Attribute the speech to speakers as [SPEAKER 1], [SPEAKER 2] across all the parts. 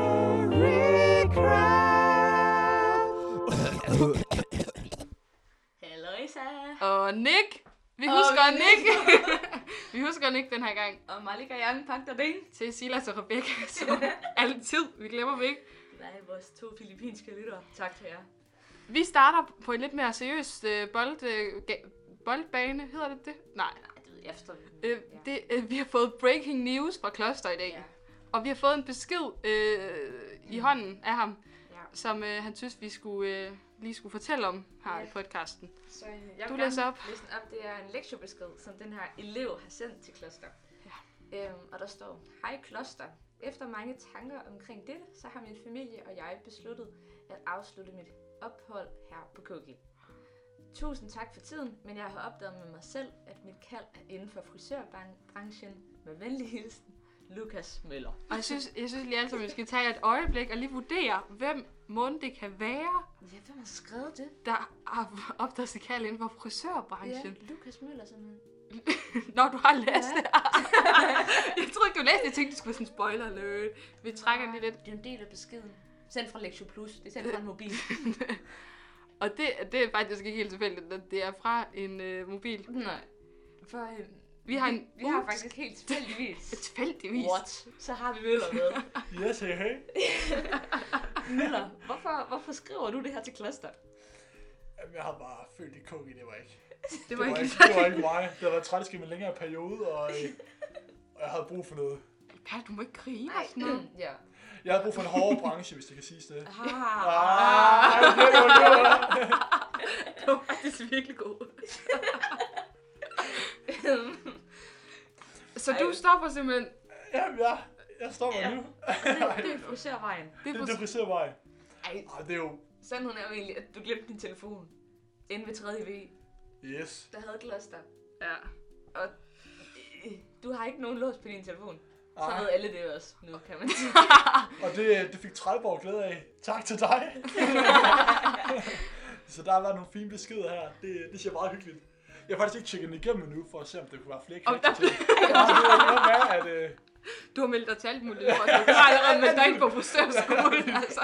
[SPEAKER 1] Cookie Crab.
[SPEAKER 2] Halløjsa.
[SPEAKER 3] Og Nick! Vi
[SPEAKER 2] Og
[SPEAKER 3] husker
[SPEAKER 2] Nick.
[SPEAKER 3] Nick! vi husker Nick den her gang.
[SPEAKER 2] Og Malika Young Pak der Ding.
[SPEAKER 3] Til Silas og Rebecca, som altid. Vi glemmer dem ikke.
[SPEAKER 2] Nej, vores to filippinske lyttere. Tak til jer.
[SPEAKER 3] Vi starter på en lidt mere seriøs øh, bold, øh, ga- boldbane. Hedder det det? Nej.
[SPEAKER 2] Nej, det ved jeg forstår vi.
[SPEAKER 3] Øh,
[SPEAKER 2] Ja.
[SPEAKER 3] det, øh, vi har fået breaking news fra Kloster i dag.
[SPEAKER 2] Ja. Mm.
[SPEAKER 3] Og vi har fået en besked øh, i hånden af ham,
[SPEAKER 2] Ja.
[SPEAKER 3] som øh, han synes, vi skulle, øh, lige skulle fortælle om her
[SPEAKER 2] Ja.
[SPEAKER 3] i podcasten.
[SPEAKER 2] Så øh, jeg
[SPEAKER 3] Du
[SPEAKER 2] vil
[SPEAKER 3] læser
[SPEAKER 2] gerne
[SPEAKER 3] op.
[SPEAKER 2] Læse den op. Det er en lektiebesked, som den her elev har sendt til Kloster. Ja. Øhm, og der står, Hej Kloster. Efter mange tanker omkring dette, så har min familie og jeg besluttet at afslutte mit ophold her på Cookie. Tusind tak for tiden, men jeg har opdaget med mig selv, at mit kald er inden for frisørbranchen med venlig hilsen, Lukas Møller.
[SPEAKER 3] Og jeg synes, jeg synes lige altså, at vi skal tage et øjeblik og lige vurdere, hvem mund det kan være,
[SPEAKER 2] Ja, hvem har skrevet det?
[SPEAKER 3] der har opdaget sig kald inden for frisørbranchen.
[SPEAKER 2] Ja, Lukas Møller simpelthen.
[SPEAKER 3] Når du har læst det. jeg troede ikke, du læste det. Jeg tænkte, det skulle være sådan en spoiler alert. Vi trækker lige lidt.
[SPEAKER 2] Det er en del af beskeden. Sendt fra Lektio Plus. Det er sendt fra en mobil.
[SPEAKER 3] Og det, det er faktisk ikke helt tilfældigt, at det er fra en øh, mobil.
[SPEAKER 2] Nej. For, øhm,
[SPEAKER 3] Vi har en
[SPEAKER 2] vi har
[SPEAKER 3] ups,
[SPEAKER 2] faktisk helt tilfældigvis.
[SPEAKER 3] tilfældigvis.
[SPEAKER 2] Så har vi Møller med.
[SPEAKER 1] Yes, hey, hey.
[SPEAKER 2] Møller, hvorfor, hvorfor skriver du det her til kloster?
[SPEAKER 1] Jamen, jeg har bare følt, at Cookie, det var ikke
[SPEAKER 3] Det var ikke
[SPEAKER 1] det var ikke mig. Det var tragisk i en længere periode, og, øh, og jeg havde brug for noget.
[SPEAKER 3] Per, du må ikke grine og sådan noget.
[SPEAKER 2] ja.
[SPEAKER 1] Jeg havde brug for en hårdere branche, hvis det kan siges det.
[SPEAKER 2] Ah,
[SPEAKER 1] Ah, det var, det var.
[SPEAKER 3] Det var faktisk virkelig god. Så du stopper simpelthen.
[SPEAKER 1] Jamen, jeg, jeg står mig nu.
[SPEAKER 2] det er frisørvejen.
[SPEAKER 3] Det er
[SPEAKER 1] Det er
[SPEAKER 3] på,
[SPEAKER 1] en depresseret vej.
[SPEAKER 2] Ej,
[SPEAKER 1] Ah, det er jo...
[SPEAKER 2] sandheden er jo egentlig, at du glemte din telefon. Inde ved 3. V,
[SPEAKER 1] Yes.
[SPEAKER 2] der havde kloster.
[SPEAKER 3] ja.
[SPEAKER 2] Og øh, du har ikke nogen lås på din telefon. Så
[SPEAKER 1] Ej.
[SPEAKER 2] ved alle det også nu, kan man sige.
[SPEAKER 1] Og det, det fik Trælborg glæde af. Tak til dig. så der har været nogle fine beskeder her. Det, det ser meget hyggeligt. Jeg har faktisk ikke tjekket den igennem endnu, for at se, om det kunne være flere
[SPEAKER 3] Om der
[SPEAKER 1] knægter til. Ja, det er noget med, at... Øh,
[SPEAKER 3] Du har meldt dig til alt muligt. lort. Du har allerede meldt dig ind på frisørskolen. Altså.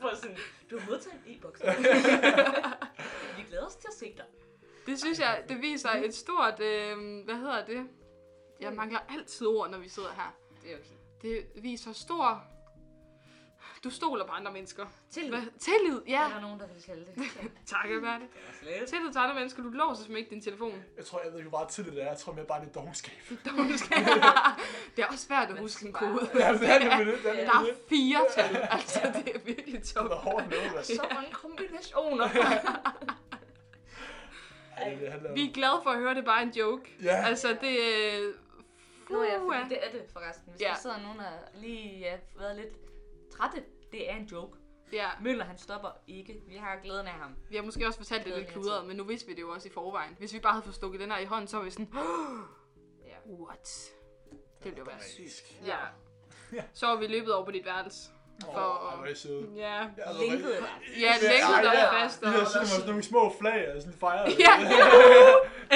[SPEAKER 2] For sådan, du har modtaget en e-boks. vi glæder os til at se dig.
[SPEAKER 3] Det synes jeg, det viser et stort, øh, hvad hedder det? Jeg mangler altid ord, når vi sidder her.
[SPEAKER 2] Det er okay.
[SPEAKER 3] Det viser stor... Du stoler på andre mennesker.
[SPEAKER 2] Til hvad?
[SPEAKER 3] Hvad? Tillid,
[SPEAKER 2] Ja.
[SPEAKER 3] ja.
[SPEAKER 2] Er der nogen, der vil slette det?
[SPEAKER 3] Tak, Albert. Tillid til andre mennesker. Du låser som ikke din telefon.
[SPEAKER 1] jeg tror, jeg ved ikke, hvor meget tid det er. Jeg tror, jeg bare er lidt dogenskab.
[SPEAKER 3] Det er også svært at huske en kode.
[SPEAKER 1] Ja, det er nemlig det. Det er
[SPEAKER 3] Der
[SPEAKER 1] nemlig
[SPEAKER 3] er
[SPEAKER 1] det.
[SPEAKER 3] fire tal. Altså, det er virkelig
[SPEAKER 1] Det
[SPEAKER 3] top.
[SPEAKER 1] var hårdt noget, hvad?
[SPEAKER 2] Så mange kombinationer.
[SPEAKER 1] Ja, det er det, han lavede.
[SPEAKER 3] Vi er glade for at høre, det er bare en joke.
[SPEAKER 1] Ja,
[SPEAKER 3] Altså, det er...
[SPEAKER 2] Nå ja,
[SPEAKER 3] Fuha.
[SPEAKER 2] fordi det er det forresten. Hvis
[SPEAKER 3] Ja.
[SPEAKER 2] ja. der sidder nogen, der lige ja, været lidt trætte, det er en joke.
[SPEAKER 3] Ja,
[SPEAKER 2] Møller, han stopper ikke. Vi har glæden af ham.
[SPEAKER 3] vi har måske også fortalt det lidt kludret, men nu vidste vi det jo også i forvejen. Hvis vi bare havde fået stukket den her i hånden, så var vi sådan...
[SPEAKER 2] Ja.
[SPEAKER 3] What? Det ville jo være sygt.
[SPEAKER 1] Dramatisk.
[SPEAKER 3] Ja. Så var vi løbet over på dit værelse.
[SPEAKER 1] Åh,
[SPEAKER 3] For-
[SPEAKER 1] ej, hvor er I søde.
[SPEAKER 3] Ja.
[SPEAKER 1] Ja, altså,
[SPEAKER 2] Linkede
[SPEAKER 1] rigtig-
[SPEAKER 2] dig.
[SPEAKER 3] Ja, længe
[SPEAKER 1] Ej,
[SPEAKER 3] der
[SPEAKER 1] ja.
[SPEAKER 3] var fast.
[SPEAKER 1] I har siddet med sådan nogle små flag, og sådan fejret.
[SPEAKER 3] Ja,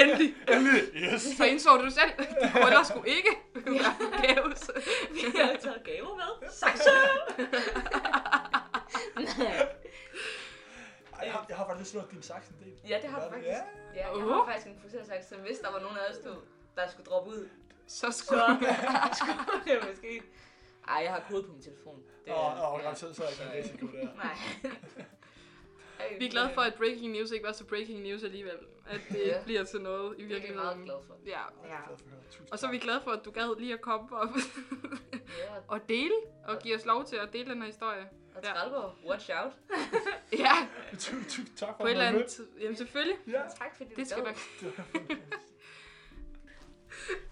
[SPEAKER 3] endelig.
[SPEAKER 1] Endelig. Yes.
[SPEAKER 3] Så indså du selv, de huller skulle ikke være gæves.
[SPEAKER 2] Vi har taget gaver med. Saxe!
[SPEAKER 1] Ej, jeg, har, jeg har faktisk slået din saks en del.
[SPEAKER 2] ja, det har du
[SPEAKER 1] Hvad er det?
[SPEAKER 2] faktisk. Ja, jeg
[SPEAKER 3] Uh.
[SPEAKER 2] har faktisk en frisørsaks, så hvis der var nogen af os, du, der skulle droppe ud,
[SPEAKER 3] Så
[SPEAKER 2] så
[SPEAKER 3] skulle
[SPEAKER 2] skulle det måske... Ej, jeg har kode på min telefon. Det
[SPEAKER 1] Ja. Åh, åh, garanteret så er jeg ikke en risiko der.
[SPEAKER 2] Nej. Øhm, Ej,
[SPEAKER 3] vi er glade for, at breaking news ikke var så breaking news alligevel. At det
[SPEAKER 2] Ja.
[SPEAKER 3] bliver til noget
[SPEAKER 2] vi
[SPEAKER 3] i
[SPEAKER 2] er meget
[SPEAKER 3] virkeligheden.
[SPEAKER 2] glade for.
[SPEAKER 3] Ja.
[SPEAKER 1] Ja. Tusind
[SPEAKER 3] Og så er vi glade for, at du gad lige at komme op
[SPEAKER 2] Ja,
[SPEAKER 3] og dele, og give os lov til at dele den her historie.
[SPEAKER 2] og
[SPEAKER 3] Ja.
[SPEAKER 2] Trælgaard, watch out.
[SPEAKER 3] Ja,
[SPEAKER 1] tak. Tusind, tusind tak for
[SPEAKER 3] på et
[SPEAKER 1] at
[SPEAKER 3] eller
[SPEAKER 1] være
[SPEAKER 3] andet...
[SPEAKER 1] med.
[SPEAKER 3] tid- Jamen selvfølgelig,
[SPEAKER 1] Ja.
[SPEAKER 2] Tak fordi du
[SPEAKER 3] det skal
[SPEAKER 2] gad.
[SPEAKER 3] nok...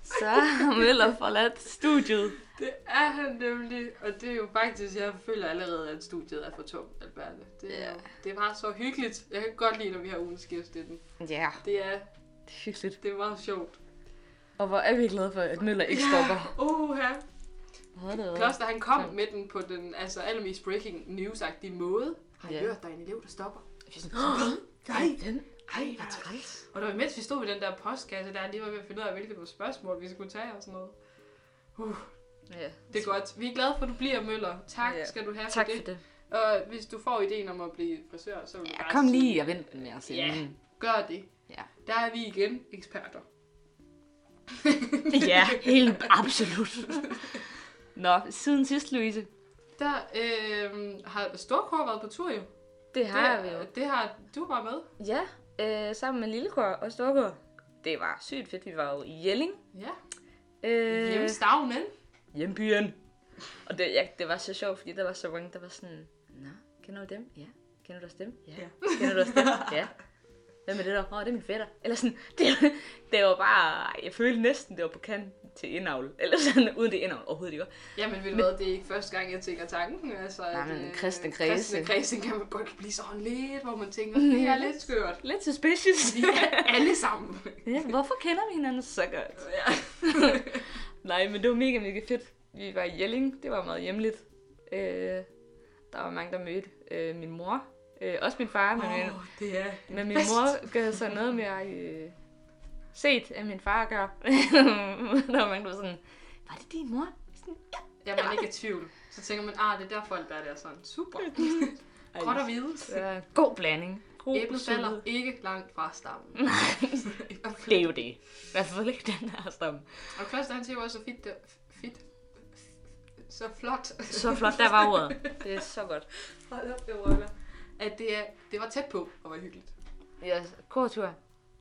[SPEAKER 2] Så har Møller forladt studiet.
[SPEAKER 3] Det er han nemlig, og det er jo faktisk, jeg føler allerede, at studiet er for tomt, Alberte. Det er,
[SPEAKER 2] Ja.
[SPEAKER 3] jo- det er bare så hyggeligt. Jeg kan godt lide, når vi har ugens gæst i den.
[SPEAKER 2] Ja,
[SPEAKER 3] Det er,
[SPEAKER 2] det er hyggeligt.
[SPEAKER 3] det er meget sjovt.
[SPEAKER 2] Og hvor er vi glade for, at Møller ikke stopper.
[SPEAKER 3] Uha.
[SPEAKER 2] Hold da op.
[SPEAKER 3] Kloster, han kom
[SPEAKER 2] Ja.
[SPEAKER 3] med den på den altså, allermest breaking news-agtige måde. Har I
[SPEAKER 2] Ja.
[SPEAKER 3] hørt, der er en elev, der stopper?
[SPEAKER 2] Vi er sådan, "Åh, Nej, den.
[SPEAKER 3] Ej,
[SPEAKER 2] Hvor træls.
[SPEAKER 3] Og det var imens vi stod ved den der postkasse, der lige var ved at finde ud af, hvilke spørgsmål vi skulle tage og sådan noget. Uh,
[SPEAKER 2] Ja.
[SPEAKER 3] Det er godt. Vi er glade for, at du bliver Møller. Tak
[SPEAKER 2] Ja.
[SPEAKER 3] skal du have
[SPEAKER 2] Tak
[SPEAKER 3] for
[SPEAKER 2] for
[SPEAKER 3] det.
[SPEAKER 2] det.
[SPEAKER 3] Og hvis du får ideen om at blive frisør, så vil du
[SPEAKER 4] Ja,
[SPEAKER 3] bare
[SPEAKER 4] kom
[SPEAKER 3] sige,
[SPEAKER 4] lige og vent den med os
[SPEAKER 3] Ja.
[SPEAKER 4] inden.
[SPEAKER 3] Gør det.
[SPEAKER 4] Ja.
[SPEAKER 3] Der er vi igen eksperter.
[SPEAKER 4] ja, helt absolut. Nå, siden sidst, Louise.
[SPEAKER 3] Der øh, har Storkår været på tur jo.
[SPEAKER 2] Det har vi
[SPEAKER 3] det,
[SPEAKER 2] jo.
[SPEAKER 3] Det har du var med.
[SPEAKER 2] Ja, øh, sammen med Lillekår og Storkår. Det var sygt fedt. Vi var jo i Jelling.
[SPEAKER 3] Ja.
[SPEAKER 2] Øh,
[SPEAKER 3] Øh. Hjemstavnen.
[SPEAKER 2] hjembyen. Og det, ja, det var så sjovt, fordi der var så mange, der var sådan, Nå, kender du dem? Ja. Kender du også dem? Ja.
[SPEAKER 3] Ja.
[SPEAKER 2] Kender du også dem? Ja. Hvem er det der? Åh, det er min fætter. Eller sådan, det, det var bare, jeg følte næsten, det var på kanten til indavl. Eller sådan, uden det er indavl overhovedet, ikke?
[SPEAKER 3] Jamen ved du hvad, det er ikke første gang, jeg tænker tanken. Altså,
[SPEAKER 4] Nej, men
[SPEAKER 3] øh,
[SPEAKER 4] kristne kredse.
[SPEAKER 3] kristne kredse kan man godt blive sådan lidt, hvor man tænker, det er lidt skørt.
[SPEAKER 4] Lidt suspicious.
[SPEAKER 3] Vi er alle sammen.
[SPEAKER 4] ja, hvorfor kender vi hinanden så godt?
[SPEAKER 3] Ja.
[SPEAKER 2] Nej, men det var mega, mega fedt. Vi var i Jelling. Det var meget hjemligt. Øh, der var mange, der mødte øh, min mor. Øh, også min far, men min,
[SPEAKER 3] Åh, det er
[SPEAKER 2] Men min
[SPEAKER 3] bedst.
[SPEAKER 2] mor gør så noget mere øh, set, end min far gør. der var mange, der var sådan, var det din mor? Sådan, ja.
[SPEAKER 3] Ja, man er ikke i tvivl. Så tænker man, ah, det er der folk, der er der sådan. Super. Godt at vide.
[SPEAKER 2] Det var en god blanding. God
[SPEAKER 3] Æblet
[SPEAKER 2] solid-
[SPEAKER 3] falder ikke langt fra stammen.
[SPEAKER 4] Det er jo det. Hvad for ikke den her stamme?
[SPEAKER 3] Og Kloster, han siger jo også, så fit, fit, så flot,
[SPEAKER 4] Så flot, der var ordet.
[SPEAKER 2] Det er så godt.
[SPEAKER 3] Hold op, det røller. At det, er- det var tæt på og var hyggeligt.
[SPEAKER 2] Ja, kortur.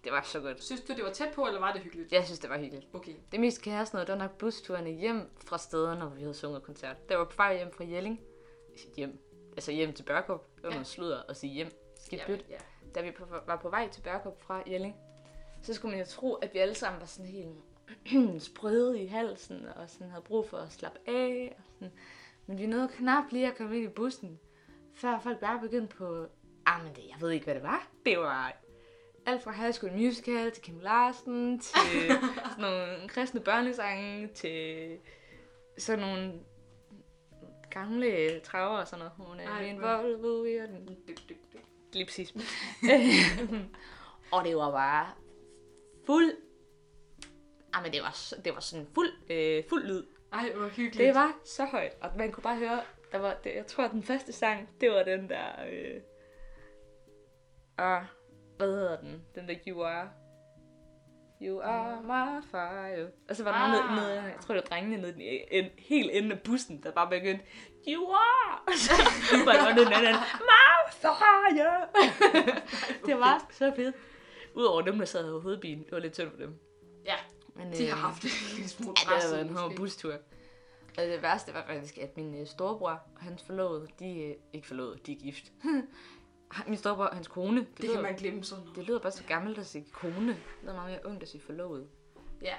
[SPEAKER 2] Det var så godt.
[SPEAKER 3] Synes du, det var tæt på, eller var det hyggeligt?
[SPEAKER 2] Jeg synes, det var hyggeligt.
[SPEAKER 3] Okay.
[SPEAKER 2] Det mest kæreste noget, det var nok busturene hjem fra stederne, hvor vi havde sunget koncert. Der var på vej hjem fra Jelling. Hjem. Altså hjem til Børkop. Det var
[SPEAKER 3] Ja.
[SPEAKER 2] noget sludder at sige hjem. Skidt
[SPEAKER 3] Ja,
[SPEAKER 2] pyt.
[SPEAKER 3] ja.
[SPEAKER 2] da vi på, var på vej til Børkop fra Jelling, så skulle man jo tro, at vi alle sammen var sådan helt sprøde i halsen, og sådan havde brug for at slappe af. Og sådan. Men vi nåede knap lige at komme ind i bussen, før folk bare begyndte på, ah, men det, jeg ved ikke, hvad det var. Det var alt fra High School Musical til Kim Larsen, til sådan nogle kristne børnesange, til sådan nogle gamle traver og sådan noget. Hun er
[SPEAKER 3] Ej,
[SPEAKER 2] min
[SPEAKER 3] hvor-
[SPEAKER 2] Volvo, og den
[SPEAKER 3] Dyk, dyk, dyk.
[SPEAKER 2] Lige præcis. og det var bare fuld... Ah, men det var, så- det var sådan fuld, øh, fuld lyd.
[SPEAKER 3] Ej, hvor hyggeligt.
[SPEAKER 2] Det var så højt, og man kunne bare høre, der var, det, jeg tror, den første sang, det var den der... Øh, og hvad hedder den? Den der You Are... You are my fire. Og så var der ah.
[SPEAKER 3] Ah.
[SPEAKER 2] noget nede, jeg tror det var drengene nede i den en, helt enden af bussen, der bare begyndte, You are! Og så var der noget andet, My fire! det var så fedt. Udover dem, der sad i hovedbilen, det var lidt tyndt for dem.
[SPEAKER 3] Ja,
[SPEAKER 2] Men,
[SPEAKER 3] de
[SPEAKER 2] øh,
[SPEAKER 3] har haft det en lille smule
[SPEAKER 2] Ja, det havde
[SPEAKER 3] presset,
[SPEAKER 2] været en hård
[SPEAKER 3] måske.
[SPEAKER 2] bustur. Og det værste var faktisk, at min øh, storebror og hans forlovede, de øh, ikke forlovede, de er gift. min storebror og hans kone, det,
[SPEAKER 3] Det
[SPEAKER 2] lyder,
[SPEAKER 3] kan man glemme sådan noget.
[SPEAKER 2] det lyder bare så gammelt at sige kone. Det er meget mere ungt at sige forlovede.
[SPEAKER 3] Ja.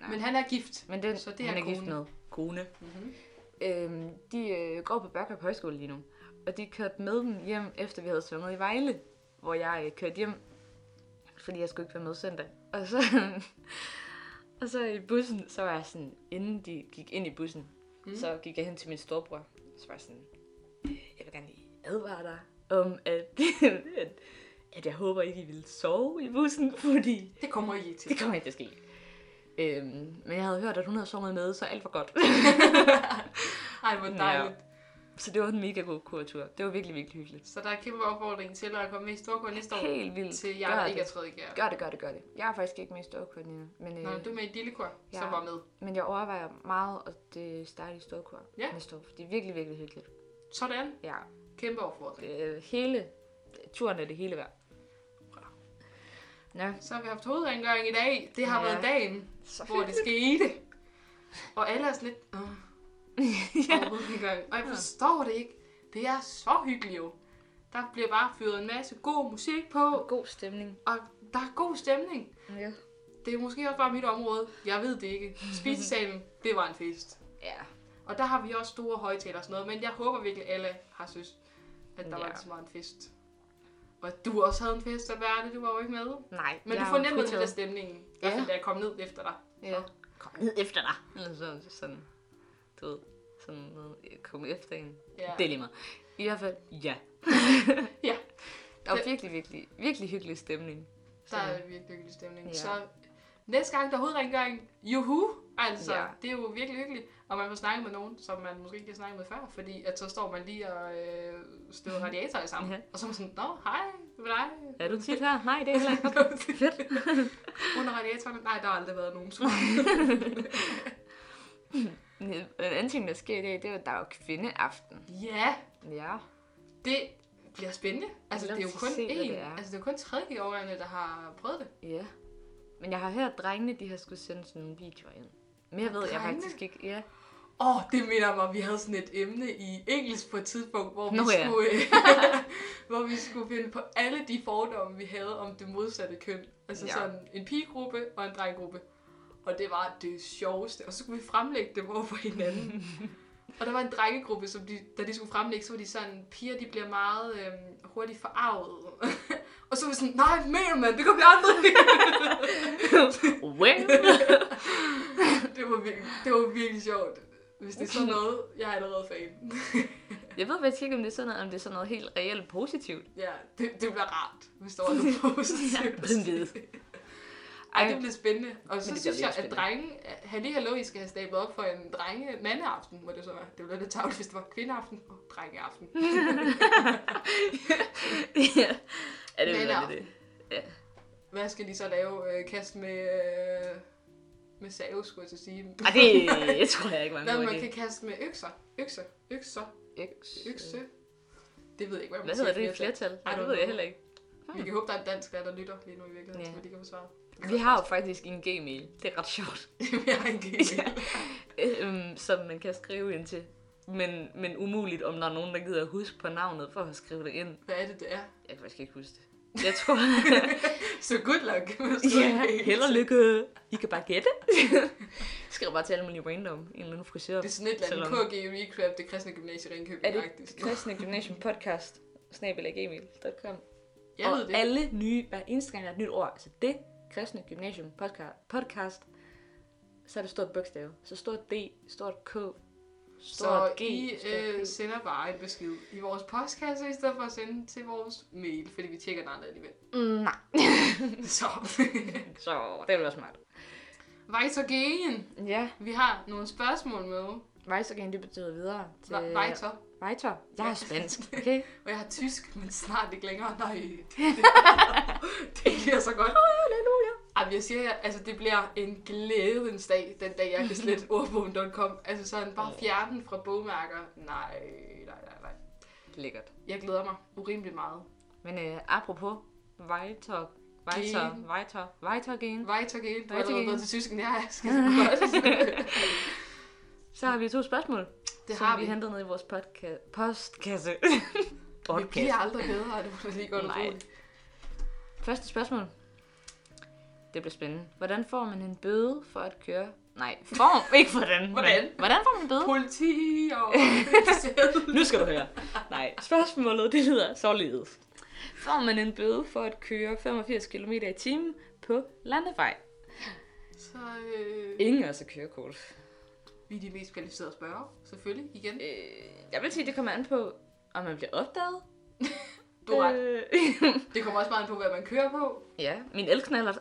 [SPEAKER 2] Nej.
[SPEAKER 3] Men han er gift.
[SPEAKER 2] Men den,
[SPEAKER 3] Så det er
[SPEAKER 2] han er gift
[SPEAKER 3] kone.
[SPEAKER 2] med. Kone.
[SPEAKER 3] Mm-hmm.
[SPEAKER 2] Øhm, de øh, går på Børkop Højskole lige nu. Og de kørte med dem hjem, efter vi havde sunget i Vejle. Hvor jeg øh, kørte hjem, fordi jeg skulle ikke være med søndag. Og så, og så i bussen, så var jeg sådan, inden de gik ind i bussen,
[SPEAKER 3] Mhm.
[SPEAKER 2] mm. så gik jeg hen til min storbror. Så var jeg sådan, "Øh, jeg vil gerne lige advare dig om, at, at, at jeg håber ikke, I vil sove i bussen, fordi
[SPEAKER 3] Det kommer I til.
[SPEAKER 2] det kommer ikke til at ske. Øhm, men jeg havde hørt, at hun havde sunget med, så alt var godt.
[SPEAKER 3] Ej, hvor dejligt.
[SPEAKER 2] så det var en mega god kurtur. Det var virkelig, virkelig hyggeligt.
[SPEAKER 3] Så der er kæmpe opfordring til at komme med i Storgård næste år.
[SPEAKER 2] Helt vildt.
[SPEAKER 3] Til jer,
[SPEAKER 2] gør
[SPEAKER 3] der ikke er
[SPEAKER 2] det.
[SPEAKER 3] tredje gær.
[SPEAKER 2] Gør det, gør det, gør det. Jeg er faktisk ikke med i storkor lige nu, men,
[SPEAKER 3] Nå,
[SPEAKER 2] øh,
[SPEAKER 3] du er med i et lille kor,
[SPEAKER 2] Ja.
[SPEAKER 3] som var med.
[SPEAKER 2] men jeg overvejer meget at øh, starte i storkor
[SPEAKER 3] Ja.
[SPEAKER 2] næste år. for Det er virkelig, virkelig hyggeligt.
[SPEAKER 3] Sådan.
[SPEAKER 2] Ja,
[SPEAKER 3] Kæmpe opfordring.
[SPEAKER 2] øh, hele turen er det hele værd. Nå,
[SPEAKER 3] Så har vi haft hovedrengøring i dag. Det har
[SPEAKER 2] Ja.
[SPEAKER 3] ja. været dagen,
[SPEAKER 2] så
[SPEAKER 3] hvor det skete. Og alle er sådan lidt... Åh, ja. hovedrengøring. Og jeg forstår det ikke. Det er så hyggeligt jo. Der bliver bare fyret en masse god musik på,
[SPEAKER 2] God stemning.
[SPEAKER 3] og der er god stemning.
[SPEAKER 2] Ja.
[SPEAKER 3] Det er måske også bare mit område. Jeg ved det ikke. Spisesalen, det var en fest.
[SPEAKER 2] ja.
[SPEAKER 3] Og der har vi også store højtaler og sådan noget, men jeg håber virkelig, alle har synes, at der ja.
[SPEAKER 2] Ja.
[SPEAKER 3] var lige så meget en fest. Og du også havde en fest at være det, du var jo ikke med.
[SPEAKER 2] Nej,
[SPEAKER 3] Men
[SPEAKER 2] jeg
[SPEAKER 3] du
[SPEAKER 2] er
[SPEAKER 3] fornemmede lidt
[SPEAKER 2] fritaget.
[SPEAKER 3] af stemningen, i hvert fald da jeg kom ned efter dig.
[SPEAKER 2] Ja.
[SPEAKER 4] Kom ned efter dig.
[SPEAKER 2] Eller sådan, sådan, du ved, sådan noget, komme efter en.
[SPEAKER 3] Ja.
[SPEAKER 2] Det er lige meget. I hvert fald, ja.
[SPEAKER 3] Ja.
[SPEAKER 2] Der var
[SPEAKER 3] Det-
[SPEAKER 2] virkelig, virkelig, virkelig hyggelig stemning.
[SPEAKER 3] Der er virkelig hyggelig stemning.
[SPEAKER 2] Ja.
[SPEAKER 3] Så næste gang der er hovedrengøring, juhu! Altså,
[SPEAKER 5] Ja.
[SPEAKER 3] ja. det er jo virkelig hyggeligt, og man får snakket med nogen, som man måske ikke har snakket med før, fordi at så står man lige og øh, støder radiatorer sammen,
[SPEAKER 2] Ja.
[SPEAKER 3] ja. og så er man sådan, nå, hej, hvad med dig?
[SPEAKER 2] Er du tit her? Nej, det er heller ikke. Okay, fedt.
[SPEAKER 3] Under radiatoren? Nej, der har aldrig været nogen.
[SPEAKER 5] En anden ting, der sker i dag, det er, at der er jo kvindeaften.
[SPEAKER 3] ja,
[SPEAKER 5] Ja.
[SPEAKER 3] det bliver spændende. Altså,
[SPEAKER 5] Jeg
[SPEAKER 3] det er
[SPEAKER 5] glæder
[SPEAKER 3] jo
[SPEAKER 5] mig til
[SPEAKER 3] kun
[SPEAKER 5] at se, hvad
[SPEAKER 3] én,
[SPEAKER 5] det er.
[SPEAKER 3] altså, det er jo kun tredje årene, der har prøvet det.
[SPEAKER 5] Ja. Men jeg har hørt, at drengene de har skulle sende sådan nogle videoer ind. Mere ved jeg
[SPEAKER 3] Drengene?
[SPEAKER 5] faktisk ikke. Ja.
[SPEAKER 3] Åh, oh, det minder mig, om, vi havde sådan et emne i engelsk på et tidspunkt, hvor,
[SPEAKER 2] Nå
[SPEAKER 3] vi,
[SPEAKER 2] ja.
[SPEAKER 3] skulle, øh, hvor vi skulle finde på alle de fordomme, vi havde om det modsatte køn. Altså
[SPEAKER 5] Ja.
[SPEAKER 3] ja. sådan en pigegruppe og en drenggruppe. Og det var det sjoveste. Og så skulle vi fremlægge dem over for hinanden. og der var en drengegruppe, som de, da de skulle fremlægge, så var de sådan, piger de bliver meget øh, hurtigt forarvet. og så var vi sådan, nej, mener man, det gør vi aldrig.
[SPEAKER 2] Well.
[SPEAKER 3] det, var virkelig, det var virkelig sjovt. Hvis det er sådan noget, jeg er allerede fan.
[SPEAKER 2] Jeg ved faktisk ikke, om det er sådan noget, om det er sådan noget helt reelt positivt.
[SPEAKER 3] Ja, det, det bliver rart, hvis der var noget positivt.
[SPEAKER 2] hvem ved?
[SPEAKER 3] Ej, det bliver spændende. Og så
[SPEAKER 2] det
[SPEAKER 3] synes
[SPEAKER 2] bliver
[SPEAKER 3] jeg, at
[SPEAKER 2] spændende.
[SPEAKER 3] drenge... Halli Hallo, I skal have stablet op for en drenge mandeaften, må det så være. Det ville være lidt tavligt, hvis det var kvindeaften og drengeaften.
[SPEAKER 2] ja. Er det jo
[SPEAKER 3] Men
[SPEAKER 2] lidt
[SPEAKER 3] nå.
[SPEAKER 2] det?
[SPEAKER 3] Hvad skal de så lave? Øh, Kast med... Øh, med save, skulle jeg til at sige.
[SPEAKER 2] Ej, det jeg tror jeg ikke var en
[SPEAKER 3] Hvad
[SPEAKER 2] god
[SPEAKER 3] man
[SPEAKER 2] idé. øh.
[SPEAKER 3] kan kaste med økser. Økser. Økser. Økse. Det ved jeg ikke, hvad man
[SPEAKER 2] Hvad hedder
[SPEAKER 3] siger
[SPEAKER 2] det i flertal? Nej, det ved jeg heller ikke.
[SPEAKER 3] Vi kan håbe, der er en dansk lærer, der lytter lige nu i virkeligheden,
[SPEAKER 2] Ja.
[SPEAKER 3] så de kan få svaret.
[SPEAKER 2] Vi har jo faktisk en gmail. Det er ret sjovt.
[SPEAKER 3] Vi har en gæld.
[SPEAKER 2] øhm, som man kan skrive ind til. Men, men umuligt, om der er nogen, der gider huske på navnet for at skrive det ind.
[SPEAKER 3] Hvad er det, det er?
[SPEAKER 2] Jeg kan faktisk ikke huske det. Jeg tror,
[SPEAKER 3] Så good luck.
[SPEAKER 2] ja, held og lykke. I kan bare gætte. Skriv bare til alle mulige random. En eller anden frisør.
[SPEAKER 3] Det er sådan et eller andet KG Recraft, det kristne gymnasie i Ringkøbing.
[SPEAKER 2] Er det
[SPEAKER 3] faktisk.
[SPEAKER 2] Kristne Gymnasium Podcast? Snabelag.gmail.com
[SPEAKER 3] Jeg
[SPEAKER 2] Og
[SPEAKER 3] ved det.
[SPEAKER 2] alle nye, hver eneste gang, der er et nyt ord. Altså det, Kristne Gymnasium Podcast, podcast så er det stort bogstav. Så stort D, stort K,
[SPEAKER 3] Så
[SPEAKER 2] stort G,
[SPEAKER 3] I
[SPEAKER 2] stort
[SPEAKER 3] øh,
[SPEAKER 2] P.
[SPEAKER 3] sender bare en besked i vores postkasse, i stedet for at sende til vores mail, fordi vi tjekker den aldrig alligevel.
[SPEAKER 2] Mm, nej.
[SPEAKER 3] Så.
[SPEAKER 2] Så det ville være smart.
[SPEAKER 3] Vejtorgen.
[SPEAKER 2] Ja,
[SPEAKER 3] Vi har nogle spørgsmål med.
[SPEAKER 2] Vejsergen, det betyder videre til...
[SPEAKER 3] Va- Vejtor.
[SPEAKER 2] Vejtor. Jeg er spansk, okay?
[SPEAKER 3] Og jeg har tysk, men snart ikke længere. Nej, det, det bliver så godt.
[SPEAKER 2] Halleluja.
[SPEAKER 3] Ej, jeg siger jer, altså det bliver en glædens dag, den dag jeg kan slette ordbogen.com. Altså sådan, bare fjerne den fra bogmærker. Nej, nej, nej, nej.
[SPEAKER 2] Lækkert.
[SPEAKER 3] Jeg glæder mig urimeligt meget.
[SPEAKER 2] Men øh, apropos Vejtor, Vejtor,
[SPEAKER 3] Gen.
[SPEAKER 2] Vejtor, Vejtorgen,
[SPEAKER 3] Weitergehen. Du har allerede
[SPEAKER 2] Weitergehen.
[SPEAKER 3] gået til tysken. Ja, jeg skal så godt.
[SPEAKER 2] så har vi to spørgsmål,
[SPEAKER 3] Det
[SPEAKER 2] som
[SPEAKER 3] har vi.
[SPEAKER 2] vi hentede ned i vores podca- postkasse.
[SPEAKER 3] Vi bliver aldrig bedre, det må du lige godt
[SPEAKER 2] Nej.
[SPEAKER 3] roligt.
[SPEAKER 2] Første spørgsmål. Det bliver spændende. Hvordan får man en bøde for at køre? Nej, form, ikke hvordan. men-
[SPEAKER 3] Hvordan?
[SPEAKER 2] Hvordan får man en bøde?
[SPEAKER 3] Politi og
[SPEAKER 2] Nu skal du høre. Nej, spørgsmålet det lyder således. Får man en bøde for at køre 85 km i timen på landevej?
[SPEAKER 3] Så øh,
[SPEAKER 2] Ingen også kørekort.
[SPEAKER 3] vi er de mest kvalificerede spørgere, selvfølgelig, igen.
[SPEAKER 2] Øh, jeg vil sige, det kommer an på, om man bliver opdaget.
[SPEAKER 3] Du har ret.
[SPEAKER 2] Øh,
[SPEAKER 3] Det kommer også meget an på, hvad man kører på.
[SPEAKER 2] ja, min elknaller,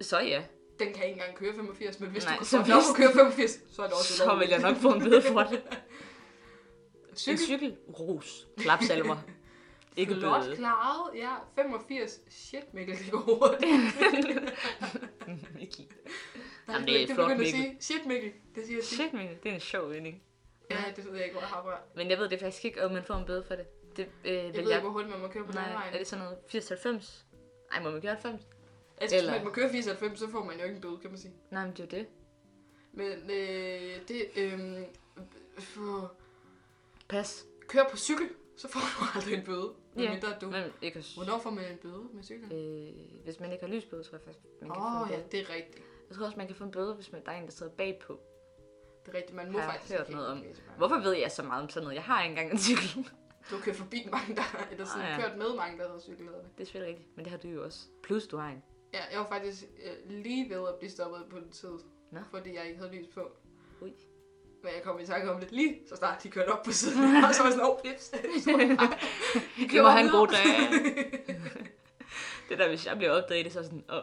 [SPEAKER 2] så ja.
[SPEAKER 3] Den kan ikke engang køre 85, men hvis
[SPEAKER 2] Nej,
[SPEAKER 3] du kan
[SPEAKER 2] så
[SPEAKER 3] få lov at
[SPEAKER 2] hvis-
[SPEAKER 3] køre 85, så er det også
[SPEAKER 2] Så vil jeg nok få en bøde for det. En
[SPEAKER 3] Cykel,
[SPEAKER 2] cykel? Ros. Klapsalver. Ikke
[SPEAKER 3] flot
[SPEAKER 2] bøde.
[SPEAKER 3] klaret. Ja, 85. Shit, Mikkel, det går hurtigt.
[SPEAKER 2] Mikkel.
[SPEAKER 3] Der
[SPEAKER 2] Jamen, det er flot,
[SPEAKER 3] begynder at
[SPEAKER 2] Mikkel.
[SPEAKER 3] sige, shit, Mikkel. Det siger jeg tit.
[SPEAKER 2] Shit, Mikkel. Det er en sjov vending.
[SPEAKER 3] Ja, det ved jeg ikke, hvor jeg har fra.
[SPEAKER 2] Men jeg ved det faktisk ikke, om man får en bøde for det. Det øh,
[SPEAKER 3] Jeg
[SPEAKER 2] vil
[SPEAKER 3] ved ikke,
[SPEAKER 2] jeg
[SPEAKER 3] hvor hurtigt man må køre på den
[SPEAKER 2] Nej, altså, er
[SPEAKER 3] vej.
[SPEAKER 2] det sådan noget 80-90? Ej, må man gøre 90?
[SPEAKER 3] Altså, hvis
[SPEAKER 2] eller-
[SPEAKER 3] man må køre 85, så får man jo ikke en bøde, kan man sige.
[SPEAKER 2] Nej, men det er jo det.
[SPEAKER 3] Men øh, det, øh, for,
[SPEAKER 2] Pas.
[SPEAKER 3] kør på cykel, så får du aldrig en bøde.
[SPEAKER 2] Ja,
[SPEAKER 3] Medmindre du...
[SPEAKER 2] Men ikke at...
[SPEAKER 3] Hvornår får man en bøde med cykel?
[SPEAKER 2] Øh, hvis man ikke har lys på, tror jeg faktisk, man kan
[SPEAKER 3] Åh
[SPEAKER 2] få
[SPEAKER 3] oh,
[SPEAKER 2] en
[SPEAKER 3] ja,
[SPEAKER 2] bøde.
[SPEAKER 3] det er rigtigt.
[SPEAKER 2] Jeg tror også, man kan få en bøde, hvis man, der er en, der sidder bagpå.
[SPEAKER 3] Det er rigtigt. Man må
[SPEAKER 2] Har jeg
[SPEAKER 3] faktisk
[SPEAKER 2] hørt
[SPEAKER 3] ikke
[SPEAKER 2] noget om.
[SPEAKER 3] læse mange.
[SPEAKER 2] Hvorfor ved jeg så meget om sådan noget? Jeg har ikke engang en cykel.
[SPEAKER 3] Du kører forbi mange, der eller sådan,
[SPEAKER 2] Åh, ja.
[SPEAKER 3] kørt med mange, der har cykelladerne.
[SPEAKER 2] det er selvfølgelig rigtigt, men det har du jo også. Plus, du har en.
[SPEAKER 3] Ja, jeg var faktisk øh, lige ved at blive stoppet af politiet,
[SPEAKER 2] Nå.
[SPEAKER 3] fordi jeg ikke havde lys på.
[SPEAKER 2] Ui.
[SPEAKER 3] Men jeg kom i tanke om det lige, så snart de kørte op på siden. og så var jeg sådan, åh, flips. Så var jeg bare-
[SPEAKER 2] Det
[SPEAKER 3] Vi
[SPEAKER 2] må
[SPEAKER 3] kører
[SPEAKER 2] have en god
[SPEAKER 3] videre.
[SPEAKER 2] dag. det der, hvis jeg bliver opdaget i det, så er jeg sådan, åh,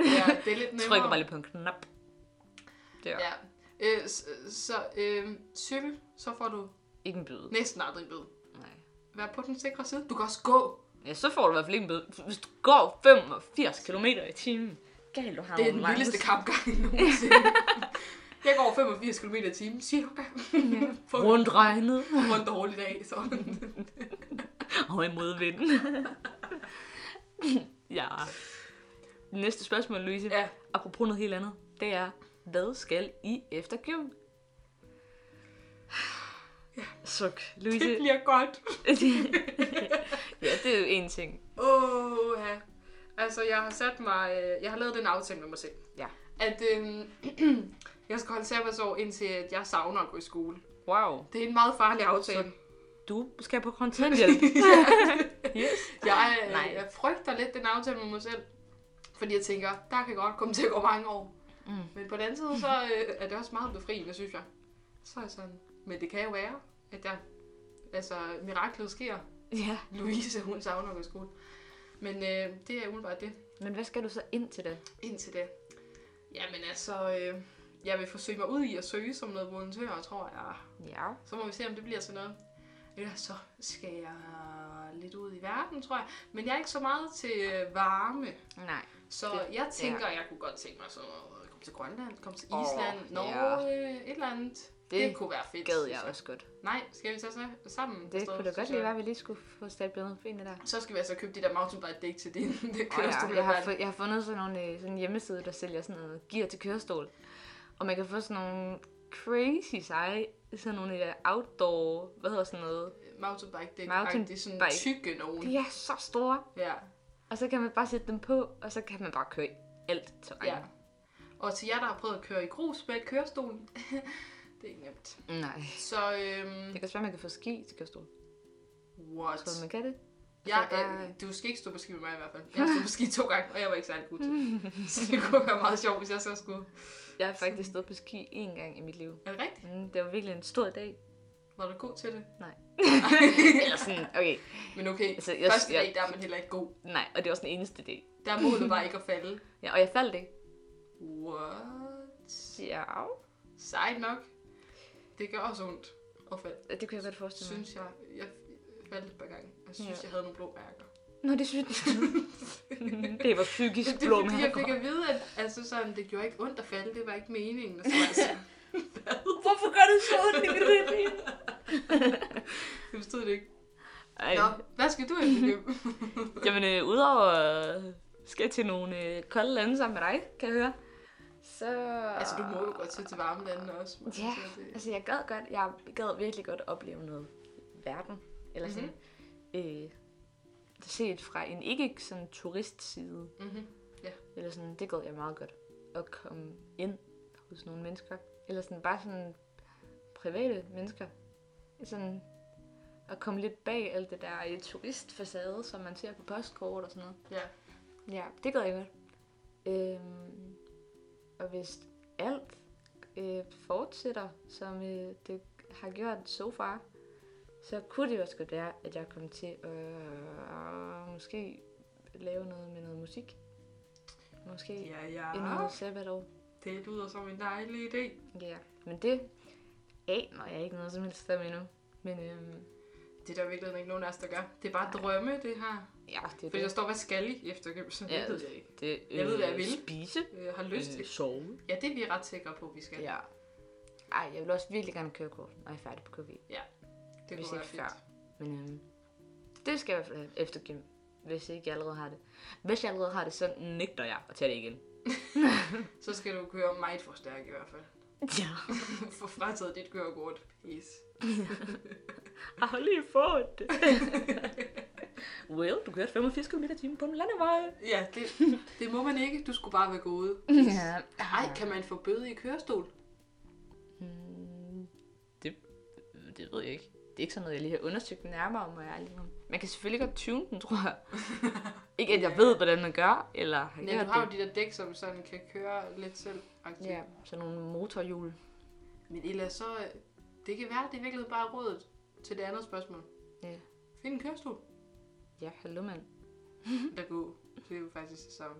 [SPEAKER 3] ja, det er lidt nemmere.
[SPEAKER 2] trykker bare lige på en knap.
[SPEAKER 5] dør.
[SPEAKER 3] Ja. Øh, så så øh, cykel, så får du
[SPEAKER 2] Ikke en bøde.
[SPEAKER 3] næsten aldrig bøde.
[SPEAKER 2] Nej.
[SPEAKER 3] Vær på den sikre side. Du kan også gå.
[SPEAKER 2] Ja, så får du i hvert fald ikke en bøde. Hvis du går 85 km i timen. Galt, du har
[SPEAKER 3] Det er den
[SPEAKER 2] Magnus.
[SPEAKER 3] vildeste kampgang nogensinde. jeg går 85 km i timen, cirka. På
[SPEAKER 2] Rundt regnet
[SPEAKER 3] rundt dårlig dag, så.
[SPEAKER 2] og imod vinden. ja. Næste spørgsmål, Louise.
[SPEAKER 3] ja.
[SPEAKER 2] Apropos noget helt andet. Det er, hvad skal I efter gym? Suk, Louise.
[SPEAKER 3] Det bliver godt.
[SPEAKER 2] ja, det er jo en ting.
[SPEAKER 3] Åh, ja. Altså, jeg har sat mig... øh, Jeg har lavet den aftale med mig selv.
[SPEAKER 2] Ja.
[SPEAKER 3] At øhm, jeg skal holde sabbatår, indtil at jeg savner at gå i skole.
[SPEAKER 2] Wow.
[SPEAKER 3] Det er en meget farlig aftale.
[SPEAKER 2] Du skal på kontanthjælp. yes.
[SPEAKER 3] Jeg, øh,
[SPEAKER 2] Nej.
[SPEAKER 3] jeg frygter lidt den aftale med mig selv. Fordi jeg tænker, der kan godt komme til at gå mange år.
[SPEAKER 2] Mm.
[SPEAKER 3] Men på den anden side, så øh, er det også meget befriende, synes jeg. Så er jeg sådan, men det kan jo være, at jeg, altså, miraklet sker.
[SPEAKER 2] Ja,
[SPEAKER 3] Louise, hun savner at gå i skole. Men øh, det er umiddelbart det,
[SPEAKER 2] men hvad skal du så ind til det?
[SPEAKER 3] indtil da. Jamen altså, øh, jeg vil forsøge mig ud i at søge som noget volontør, tror jeg.
[SPEAKER 2] Ja.
[SPEAKER 3] Så må vi se, om det bliver sådan noget. Ellers så skal jeg lidt ud i verden, tror jeg. Men jeg er ikke så meget til øh, varme.
[SPEAKER 2] Nej.
[SPEAKER 3] Så
[SPEAKER 2] Det-
[SPEAKER 3] jeg tænker, jeg kunne godt tænke mig sådan noget. Kom til Grønland, kom til
[SPEAKER 2] Åh,
[SPEAKER 3] Island,
[SPEAKER 2] ja.
[SPEAKER 3] Norge, øh, et eller andet. Det,
[SPEAKER 2] Det
[SPEAKER 3] kunne være fedt.
[SPEAKER 2] Gad
[SPEAKER 3] synes
[SPEAKER 2] jeg også godt.
[SPEAKER 3] Nej, skal vi så så sammen?
[SPEAKER 2] Det
[SPEAKER 3] afsted,
[SPEAKER 2] kunne da godt
[SPEAKER 3] synes
[SPEAKER 2] lige
[SPEAKER 3] jeg?
[SPEAKER 2] være, at vi lige skulle få sat bedre nogle benene der.
[SPEAKER 3] Så skal vi altså købe de der mountainbike dæk til din det
[SPEAKER 2] Åh
[SPEAKER 3] kørestol.
[SPEAKER 2] ja, jeg, har fu- jeg har fundet sådan nogle øh, sådan en hjemmeside, der sælger sådan noget gear til kørestol. Og man kan få sådan nogle crazy seje, sådan nogle øh, outdoor, hvad hedder sådan noget.
[SPEAKER 3] mountainbike dæk.
[SPEAKER 2] Mountainbike.
[SPEAKER 3] Det er sådan tykke nogen.
[SPEAKER 2] De er så store.
[SPEAKER 3] Ja,
[SPEAKER 2] Og så kan man bare sætte dem på, og så kan man bare køre i alt terræn.
[SPEAKER 3] ja. Og til jer, der har prøvet at køre i grus med kørestolen, det er ikke nemt.
[SPEAKER 2] Nej.
[SPEAKER 3] Så øhm,
[SPEAKER 2] Det kan også være, man kan få ski til kørestol.
[SPEAKER 3] what?
[SPEAKER 2] Tror du, man kan det?
[SPEAKER 3] Jeg,
[SPEAKER 2] Altså, der-
[SPEAKER 3] øh, du skal ikke stå på ski med mig i hvert fald. Jeg stod på ski to gange, og jeg var ikke særlig god til det. Så det kunne være meget sjovt, hvis jeg så skulle.
[SPEAKER 2] Jeg har faktisk stået på ski én gang i mit liv.
[SPEAKER 3] Er det rigtigt?
[SPEAKER 2] Mm, det var virkelig en stor dag.
[SPEAKER 3] Var du god til det?
[SPEAKER 2] Eller sådan, okay.
[SPEAKER 3] Men okay,
[SPEAKER 2] Altså,
[SPEAKER 3] altså,
[SPEAKER 2] jeg-
[SPEAKER 3] jeg, første dag,
[SPEAKER 2] jeg-
[SPEAKER 3] der er man heller ikke god.
[SPEAKER 2] Nej, og det var sådan den eneste dag.
[SPEAKER 3] Der er målet bare ikke at falde.
[SPEAKER 2] Ja, og jeg faldt ikke.
[SPEAKER 3] What?
[SPEAKER 2] Ja.
[SPEAKER 3] Sejt nok. Det gør også ondt at falde.
[SPEAKER 2] Det kunne jeg godt forestille mig.
[SPEAKER 3] Synes jeg, jeg faldt et par gange. Jeg synes,
[SPEAKER 2] Ja.
[SPEAKER 3] ja. jeg havde nogle blå mærker.
[SPEAKER 2] Nå, det synes jeg. det var psykisk
[SPEAKER 3] Det
[SPEAKER 2] blå
[SPEAKER 3] er fordi, jeg
[SPEAKER 2] mærker.
[SPEAKER 3] fik at vide, at altså, sådan, det gjorde ikke ondt at falde. Det var ikke meningen. Og så var jeg sådan,
[SPEAKER 2] Hvorfor gør du så ondt i mit ribben?
[SPEAKER 3] jeg forstod det ikke.
[SPEAKER 2] Ej.
[SPEAKER 3] Nå, hvad skal du egentlig løbe?
[SPEAKER 2] Jamen, øh, udover øh, skal jeg til nogle øh, kolde lande sammen med dig, kan jeg høre. Så...
[SPEAKER 3] Altså, du må jo godt tage til varme lande også. må jeg
[SPEAKER 2] Ja,
[SPEAKER 3] sige, det-
[SPEAKER 2] altså jeg gad godt, jeg gad virkelig godt opleve noget verden, eller sådan,
[SPEAKER 3] Mhm.
[SPEAKER 2] mm-hmm. øh, set fra en ikke sådan turistside,
[SPEAKER 3] Mhm.
[SPEAKER 2] eller sådan, det gad jeg meget godt, at komme ind hos nogle mennesker, eller sådan bare sådan private mennesker, sådan at komme lidt bag alt det der øh, turistfacade, som man ser på postkort og sådan noget.
[SPEAKER 3] Ja.
[SPEAKER 2] Ja, det gad jeg godt. Øhm, og hvis alt øh, fortsætter, som øh, det har gjort so far, så kunne det jo også godt være, at jeg kom til at øh, måske lave noget med noget musik. Måske ja.
[SPEAKER 3] Ja,
[SPEAKER 2] endnu
[SPEAKER 3] ja.
[SPEAKER 2] noget sabbatår.
[SPEAKER 3] Det lyder som en dejlig idé.
[SPEAKER 2] Ja, men det aner jeg ikke noget som helst om endnu. Men øhm,
[SPEAKER 3] Det er der virkelig ikke nogen af os, der gør. Det er bare drømme, det her.
[SPEAKER 2] ja, det er
[SPEAKER 3] Fordi der
[SPEAKER 2] det.
[SPEAKER 3] står, hvad skal I efter gymsen?
[SPEAKER 2] Ja.
[SPEAKER 3] Ja. Det ved jeg ikke.
[SPEAKER 2] det
[SPEAKER 3] jeg ved, hvad jeg vil.
[SPEAKER 2] Spise.
[SPEAKER 3] Jeg har lyst til.
[SPEAKER 2] Øh, sove.
[SPEAKER 3] Ja, det er vi ret sikre på, vi skal.
[SPEAKER 2] Ja. Ej, jeg vil også virkelig gerne køre kort, når jeg er færdig på KG.
[SPEAKER 3] det
[SPEAKER 2] hvis
[SPEAKER 3] kunne være
[SPEAKER 2] ikke
[SPEAKER 3] fedt.
[SPEAKER 2] før. Men øhm, det skal jeg i hvert fald have efter gym, hvis ikke jeg allerede har det. Hvis jeg allerede har det, så nægter jeg at tage det igen.
[SPEAKER 3] Så skal du køre meget for stærk i hvert fald.
[SPEAKER 2] Ja.
[SPEAKER 3] For frataget dit kørekort. Pis.
[SPEAKER 2] Jeg har lige fået det. well, du kørte 85 km i timen på en landevej.
[SPEAKER 3] Ja, det, det må man ikke. Du skulle bare være gået.
[SPEAKER 2] Ja.
[SPEAKER 3] Ej, kan man få bøde i kørestol?
[SPEAKER 2] Mm, Det, det ved jeg ikke. Det er ikke sådan noget, jeg lige har undersøgt nærmere om, og jeg er lige... Man kan selvfølgelig godt tune den, tror jeg. ikke at jeg ved, hvordan man gør, eller har
[SPEAKER 3] Ja,
[SPEAKER 2] gjort
[SPEAKER 3] du har jo
[SPEAKER 2] det.
[SPEAKER 3] de der dæk, som sådan kan køre lidt selv.
[SPEAKER 2] Ja,
[SPEAKER 3] Ja.
[SPEAKER 2] sådan nogle motorhjul.
[SPEAKER 3] Men ellers så... øh, Det kan være, det er virkelig bare rådet til det andet spørgsmål.
[SPEAKER 2] Ja.
[SPEAKER 3] Find en kørestol.
[SPEAKER 2] Ja, hallo mand. Mhm.
[SPEAKER 3] Der går. Det er jo faktisk det samme.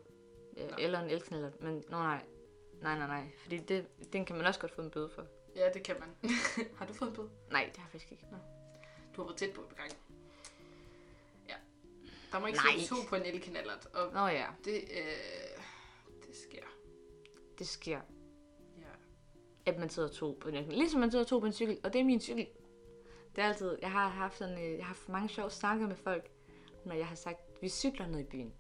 [SPEAKER 2] Ja,
[SPEAKER 3] Nå.
[SPEAKER 2] eller en elknallert, men nå nej. Nej, nej, nej. Fordi det, den kan man også godt få en bøde for.
[SPEAKER 3] Ja, det kan man. har du fået en bøde?
[SPEAKER 2] Nej, det har jeg faktisk ikke.
[SPEAKER 3] Du har været tæt på et par gange. Ja. Der må ikke
[SPEAKER 2] Nej.
[SPEAKER 3] sættes to på en elkanalert, og
[SPEAKER 2] Nå ja,
[SPEAKER 3] det, øh, det sker.
[SPEAKER 2] det sker,
[SPEAKER 3] Ja.
[SPEAKER 2] at man sidder to på en cykel. Ligesom man sidder to på en cykel, og det er min cykel. Det er altid, jeg har haft sådan, øh, jeg har haft mange sjove snakker med folk, når jeg har sagt, vi cykler ned i byen.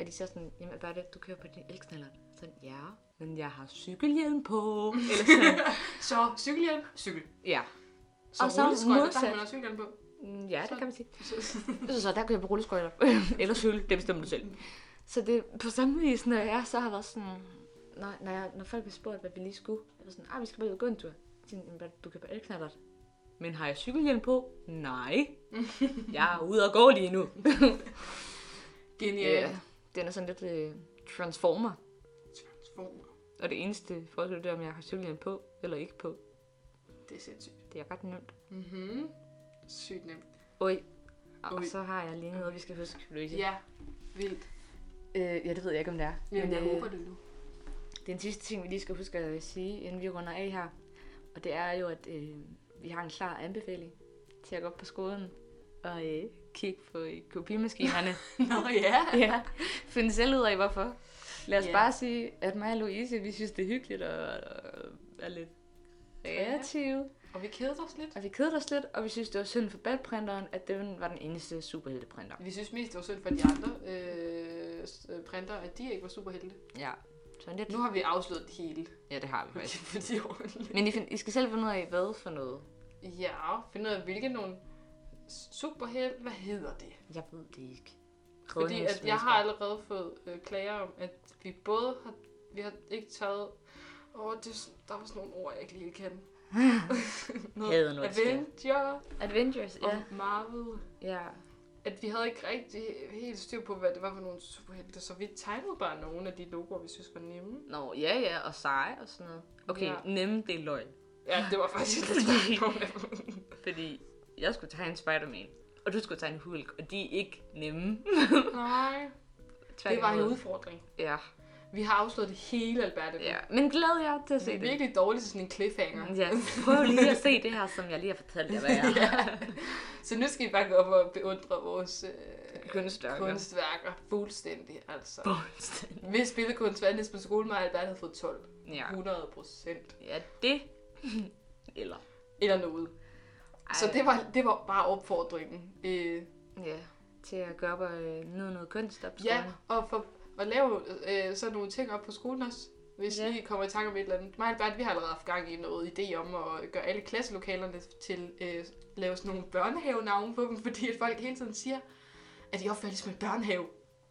[SPEAKER 2] Og de så sådan, jamen hvad er det, du kører på din elknaller? Sådan, ja, men jeg har cykelhjelm på. Eller sådan,
[SPEAKER 3] Så cykelhjelm, cykel.
[SPEAKER 2] ja.
[SPEAKER 3] Så
[SPEAKER 2] Og
[SPEAKER 3] og
[SPEAKER 2] så
[SPEAKER 3] så rulleskøjter, der har
[SPEAKER 2] modsat.
[SPEAKER 3] man også cykelhjelm på.
[SPEAKER 2] Mm, Ja, det
[SPEAKER 3] Så-
[SPEAKER 2] kan man sige.
[SPEAKER 3] Så-
[SPEAKER 2] Så, så der kan jeg på rulleskøjter. Eller cykel, det bestemmer du selv. Så det er på samme vis, når jeg så har været sådan... Når, når, jeg, når folk har spurgt, hvad vi lige skulle, jeg var sådan, ah, vi skal bare ud og gå en tur. Så tænkte jeg, "Hvad, du kan bare elknaller. Men har jeg cykelhjelm på? Nej. Jeg er ude og gå lige nu.
[SPEAKER 3] Genial.
[SPEAKER 2] Den er sådan lidt øh, transformer.
[SPEAKER 3] Transformer.
[SPEAKER 2] Og det eneste forskel, det er, om jeg har cykelhjelm på eller ikke på.
[SPEAKER 3] Det er sindssygt.
[SPEAKER 2] Det er ret nemt.
[SPEAKER 3] Mhm. Sygt nemt.
[SPEAKER 2] Oj. Og, og
[SPEAKER 3] Oj.
[SPEAKER 2] så har jeg lige noget, vi skal huske. Louise.
[SPEAKER 3] Ja, vildt.
[SPEAKER 2] Øh, ja, det ved jeg ikke, om det er.
[SPEAKER 3] Men jeg
[SPEAKER 2] øh,
[SPEAKER 3] håber det nu.
[SPEAKER 2] Den sidste ting, vi lige skal huske at sige, inden vi runder af her, og det er jo, at øh, vi har en klar anbefaling til at gå op på skolen og øh, kigge på øh, kopimaskinerne.
[SPEAKER 3] Nå ja.
[SPEAKER 2] ja. Find selv ud af, hvorfor. Lad os
[SPEAKER 3] Ja.
[SPEAKER 2] yeah. bare sige, at mig og Louise, vi synes, det er hyggeligt og, og er lidt kreative.
[SPEAKER 3] Og vi kedede os lidt.
[SPEAKER 2] Og vi kedede os lidt, og vi synes, det var synd for balprinteren, at den var den eneste superhelteprinter.
[SPEAKER 3] Vi synes mest, det var synd for de andre øh, s- øh, printer, at de ikke var super heldige.
[SPEAKER 2] Ja, sådan lidt.
[SPEAKER 3] Nu har vi afsløret det hele
[SPEAKER 2] Ja, det har vi faktisk.
[SPEAKER 3] for de år.
[SPEAKER 2] Men I, find, I skal selv finde ud af, hvad for noget.
[SPEAKER 3] Ja, finde ud af, hvilke nogle superheld, hvad hedder det?
[SPEAKER 2] Jeg ved det ikke.
[SPEAKER 3] Fordi at jeg har allerede fået øh, klager om, at vi både har, vi har ikke taget, åh, det, er sådan- der var sådan nogle ord, jeg ikke lige kan. Noget
[SPEAKER 2] Hader nu, at det sker.
[SPEAKER 3] Avenger
[SPEAKER 2] Adventures,
[SPEAKER 3] og
[SPEAKER 2] ja.
[SPEAKER 3] Marvel.
[SPEAKER 2] ja.
[SPEAKER 3] At vi havde ikke rigtig helt styr på, hvad det var for nogle superhelte, så vi tegnede bare nogle af de logoer, vi synes var nemme.
[SPEAKER 2] Nå, ja, ja, og seje og sådan noget. Okay,
[SPEAKER 3] Ja.
[SPEAKER 2] ja. nemme, det er løgn.
[SPEAKER 3] Ja, det var faktisk lidt svært nogle af dem.
[SPEAKER 2] Fordi jeg skulle tegne Spider-Man, og du skulle tegne Hulk, og de er ikke nemme.
[SPEAKER 3] Nej, det var en udfordring.
[SPEAKER 2] Ja,
[SPEAKER 3] Vi har afslået det hele, Albert.
[SPEAKER 2] ja. Men glæd jer til at se
[SPEAKER 3] Det er
[SPEAKER 2] det.
[SPEAKER 3] virkelig dårligt til sådan en cliffhanger.
[SPEAKER 2] Ja, prøv lige at se det her, som jeg lige har fortalt jer, hvad jeg er.
[SPEAKER 3] Så nu skal I bare gå op og beundre vores øh,
[SPEAKER 2] Kunstværker.
[SPEAKER 3] kunstværker fuldstændig. Altså.
[SPEAKER 2] Fuldstændig.
[SPEAKER 3] Hvis billedkunst vandt på skolen, mig og Albert havde fået 12.
[SPEAKER 2] Ja.
[SPEAKER 3] 100 procent.
[SPEAKER 2] ja, det. Eller.
[SPEAKER 3] Eller noget.
[SPEAKER 2] Ej.
[SPEAKER 3] Så det var, det var bare opfordringen. Øh,
[SPEAKER 2] Ja, til at gøre op og øh, nyde noget kunst op på
[SPEAKER 3] ja,
[SPEAKER 2] skolen.
[SPEAKER 3] og for at lave øh, sådan nogle ting op på skolen også. Hvis
[SPEAKER 2] Ja.
[SPEAKER 3] ja. I kommer i tanke om et eller andet. Mig og Albert, vi har allerede haft gang i noget idé om at gøre alle klasselokalerne til øh, lave sådan nogle børnehavenavne på dem, fordi at folk hele tiden siger, at de opfatter det som en børnehave.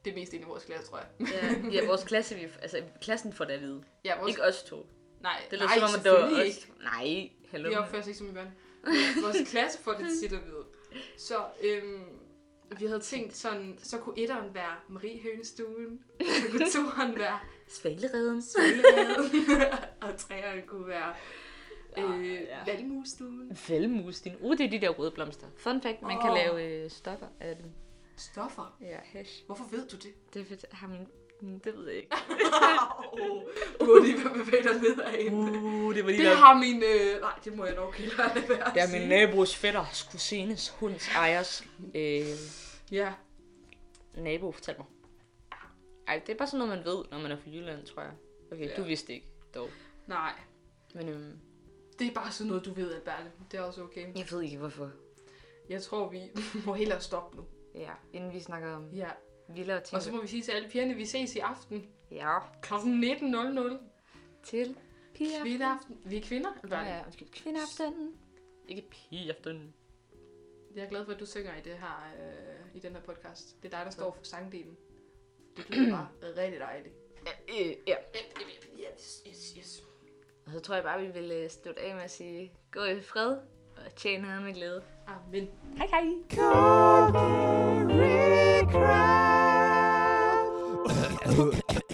[SPEAKER 3] Det er mest en i vores klasse, tror jeg.
[SPEAKER 2] Ja, ja, vores klasse, vi, altså klassen får det at vide.
[SPEAKER 3] Ja, vores
[SPEAKER 2] Ikke os to.
[SPEAKER 3] Nej,
[SPEAKER 2] Det
[SPEAKER 3] det
[SPEAKER 2] lyder
[SPEAKER 3] nej,
[SPEAKER 2] som om, at det var
[SPEAKER 3] selvfølgelig
[SPEAKER 2] os.
[SPEAKER 3] ikke.
[SPEAKER 2] Nej, hallo.
[SPEAKER 3] Vi opfører os ikke som en børn. Men Vores klasse får det tit at vide. Så øhm, vi havde tænkt sådan, så kunne etteren være Marie Hønestuen, så kunne toeren være
[SPEAKER 2] Svalereden.
[SPEAKER 3] Søleladen, og treeren kunne være øh,
[SPEAKER 2] Ja, ja.
[SPEAKER 3] ja. Valmustuen.
[SPEAKER 2] Valmus, din. Uh, det er de der røde blomster. Fun fact, man oh. kan
[SPEAKER 3] Åh.
[SPEAKER 2] lave øh, stoffer af dem.
[SPEAKER 3] Stoffer.
[SPEAKER 2] Ja, hash.
[SPEAKER 3] Hvorfor ved du det?
[SPEAKER 2] Det for, har min... Mm, Det ved jeg ikke.
[SPEAKER 3] Du må lige være bevæget dig nedad.
[SPEAKER 2] Uh, det var
[SPEAKER 3] Det har min... Øh, nej, det må jeg nok ikke lade være at
[SPEAKER 2] Det er
[SPEAKER 3] sige.
[SPEAKER 2] min nabos fætters, kusines, hunds, ejers øh,
[SPEAKER 3] Ja.
[SPEAKER 2] nabo, fortæl mig. Ej, det er bare sådan noget, man ved, når man er fra Jylland, tror jeg. Okay, ja.
[SPEAKER 3] Ja.
[SPEAKER 2] du vidste ikke, dog.
[SPEAKER 3] Nej,
[SPEAKER 2] Men øhm,
[SPEAKER 3] det er bare sådan noget, du ved, Alberte. Det er også okay.
[SPEAKER 2] jeg ved ikke, hvorfor.
[SPEAKER 3] Jeg tror, vi må hellere stoppe nu.
[SPEAKER 2] Ja, inden vi snakker om
[SPEAKER 3] Ja.
[SPEAKER 2] vildere ting.
[SPEAKER 3] Og så må vi sige til alle pigerne, vi ses i aften
[SPEAKER 2] Ja,
[SPEAKER 3] kl. 19.00.
[SPEAKER 2] til piger.
[SPEAKER 3] Kvindeaften. Vi er kvinder.
[SPEAKER 2] Nå
[SPEAKER 3] Ja.
[SPEAKER 2] ja, undskyld. Kvindeaftenen. Ikke pigeaftenen.
[SPEAKER 3] Jeg er glad for, at du synger i, det her, øh, i den her podcast. Det er dig, der står for sangdelen. Det lyder bare rigtig dejligt.
[SPEAKER 2] Øh, ja.
[SPEAKER 3] Yes, yes, yes.
[SPEAKER 2] Og så tror jeg bare, vi vil øh, slutte af med at sige, gå i fred og tjene noget med glæde.
[SPEAKER 3] Amen.
[SPEAKER 2] Hej hej!
[SPEAKER 6] Cookie Recraft.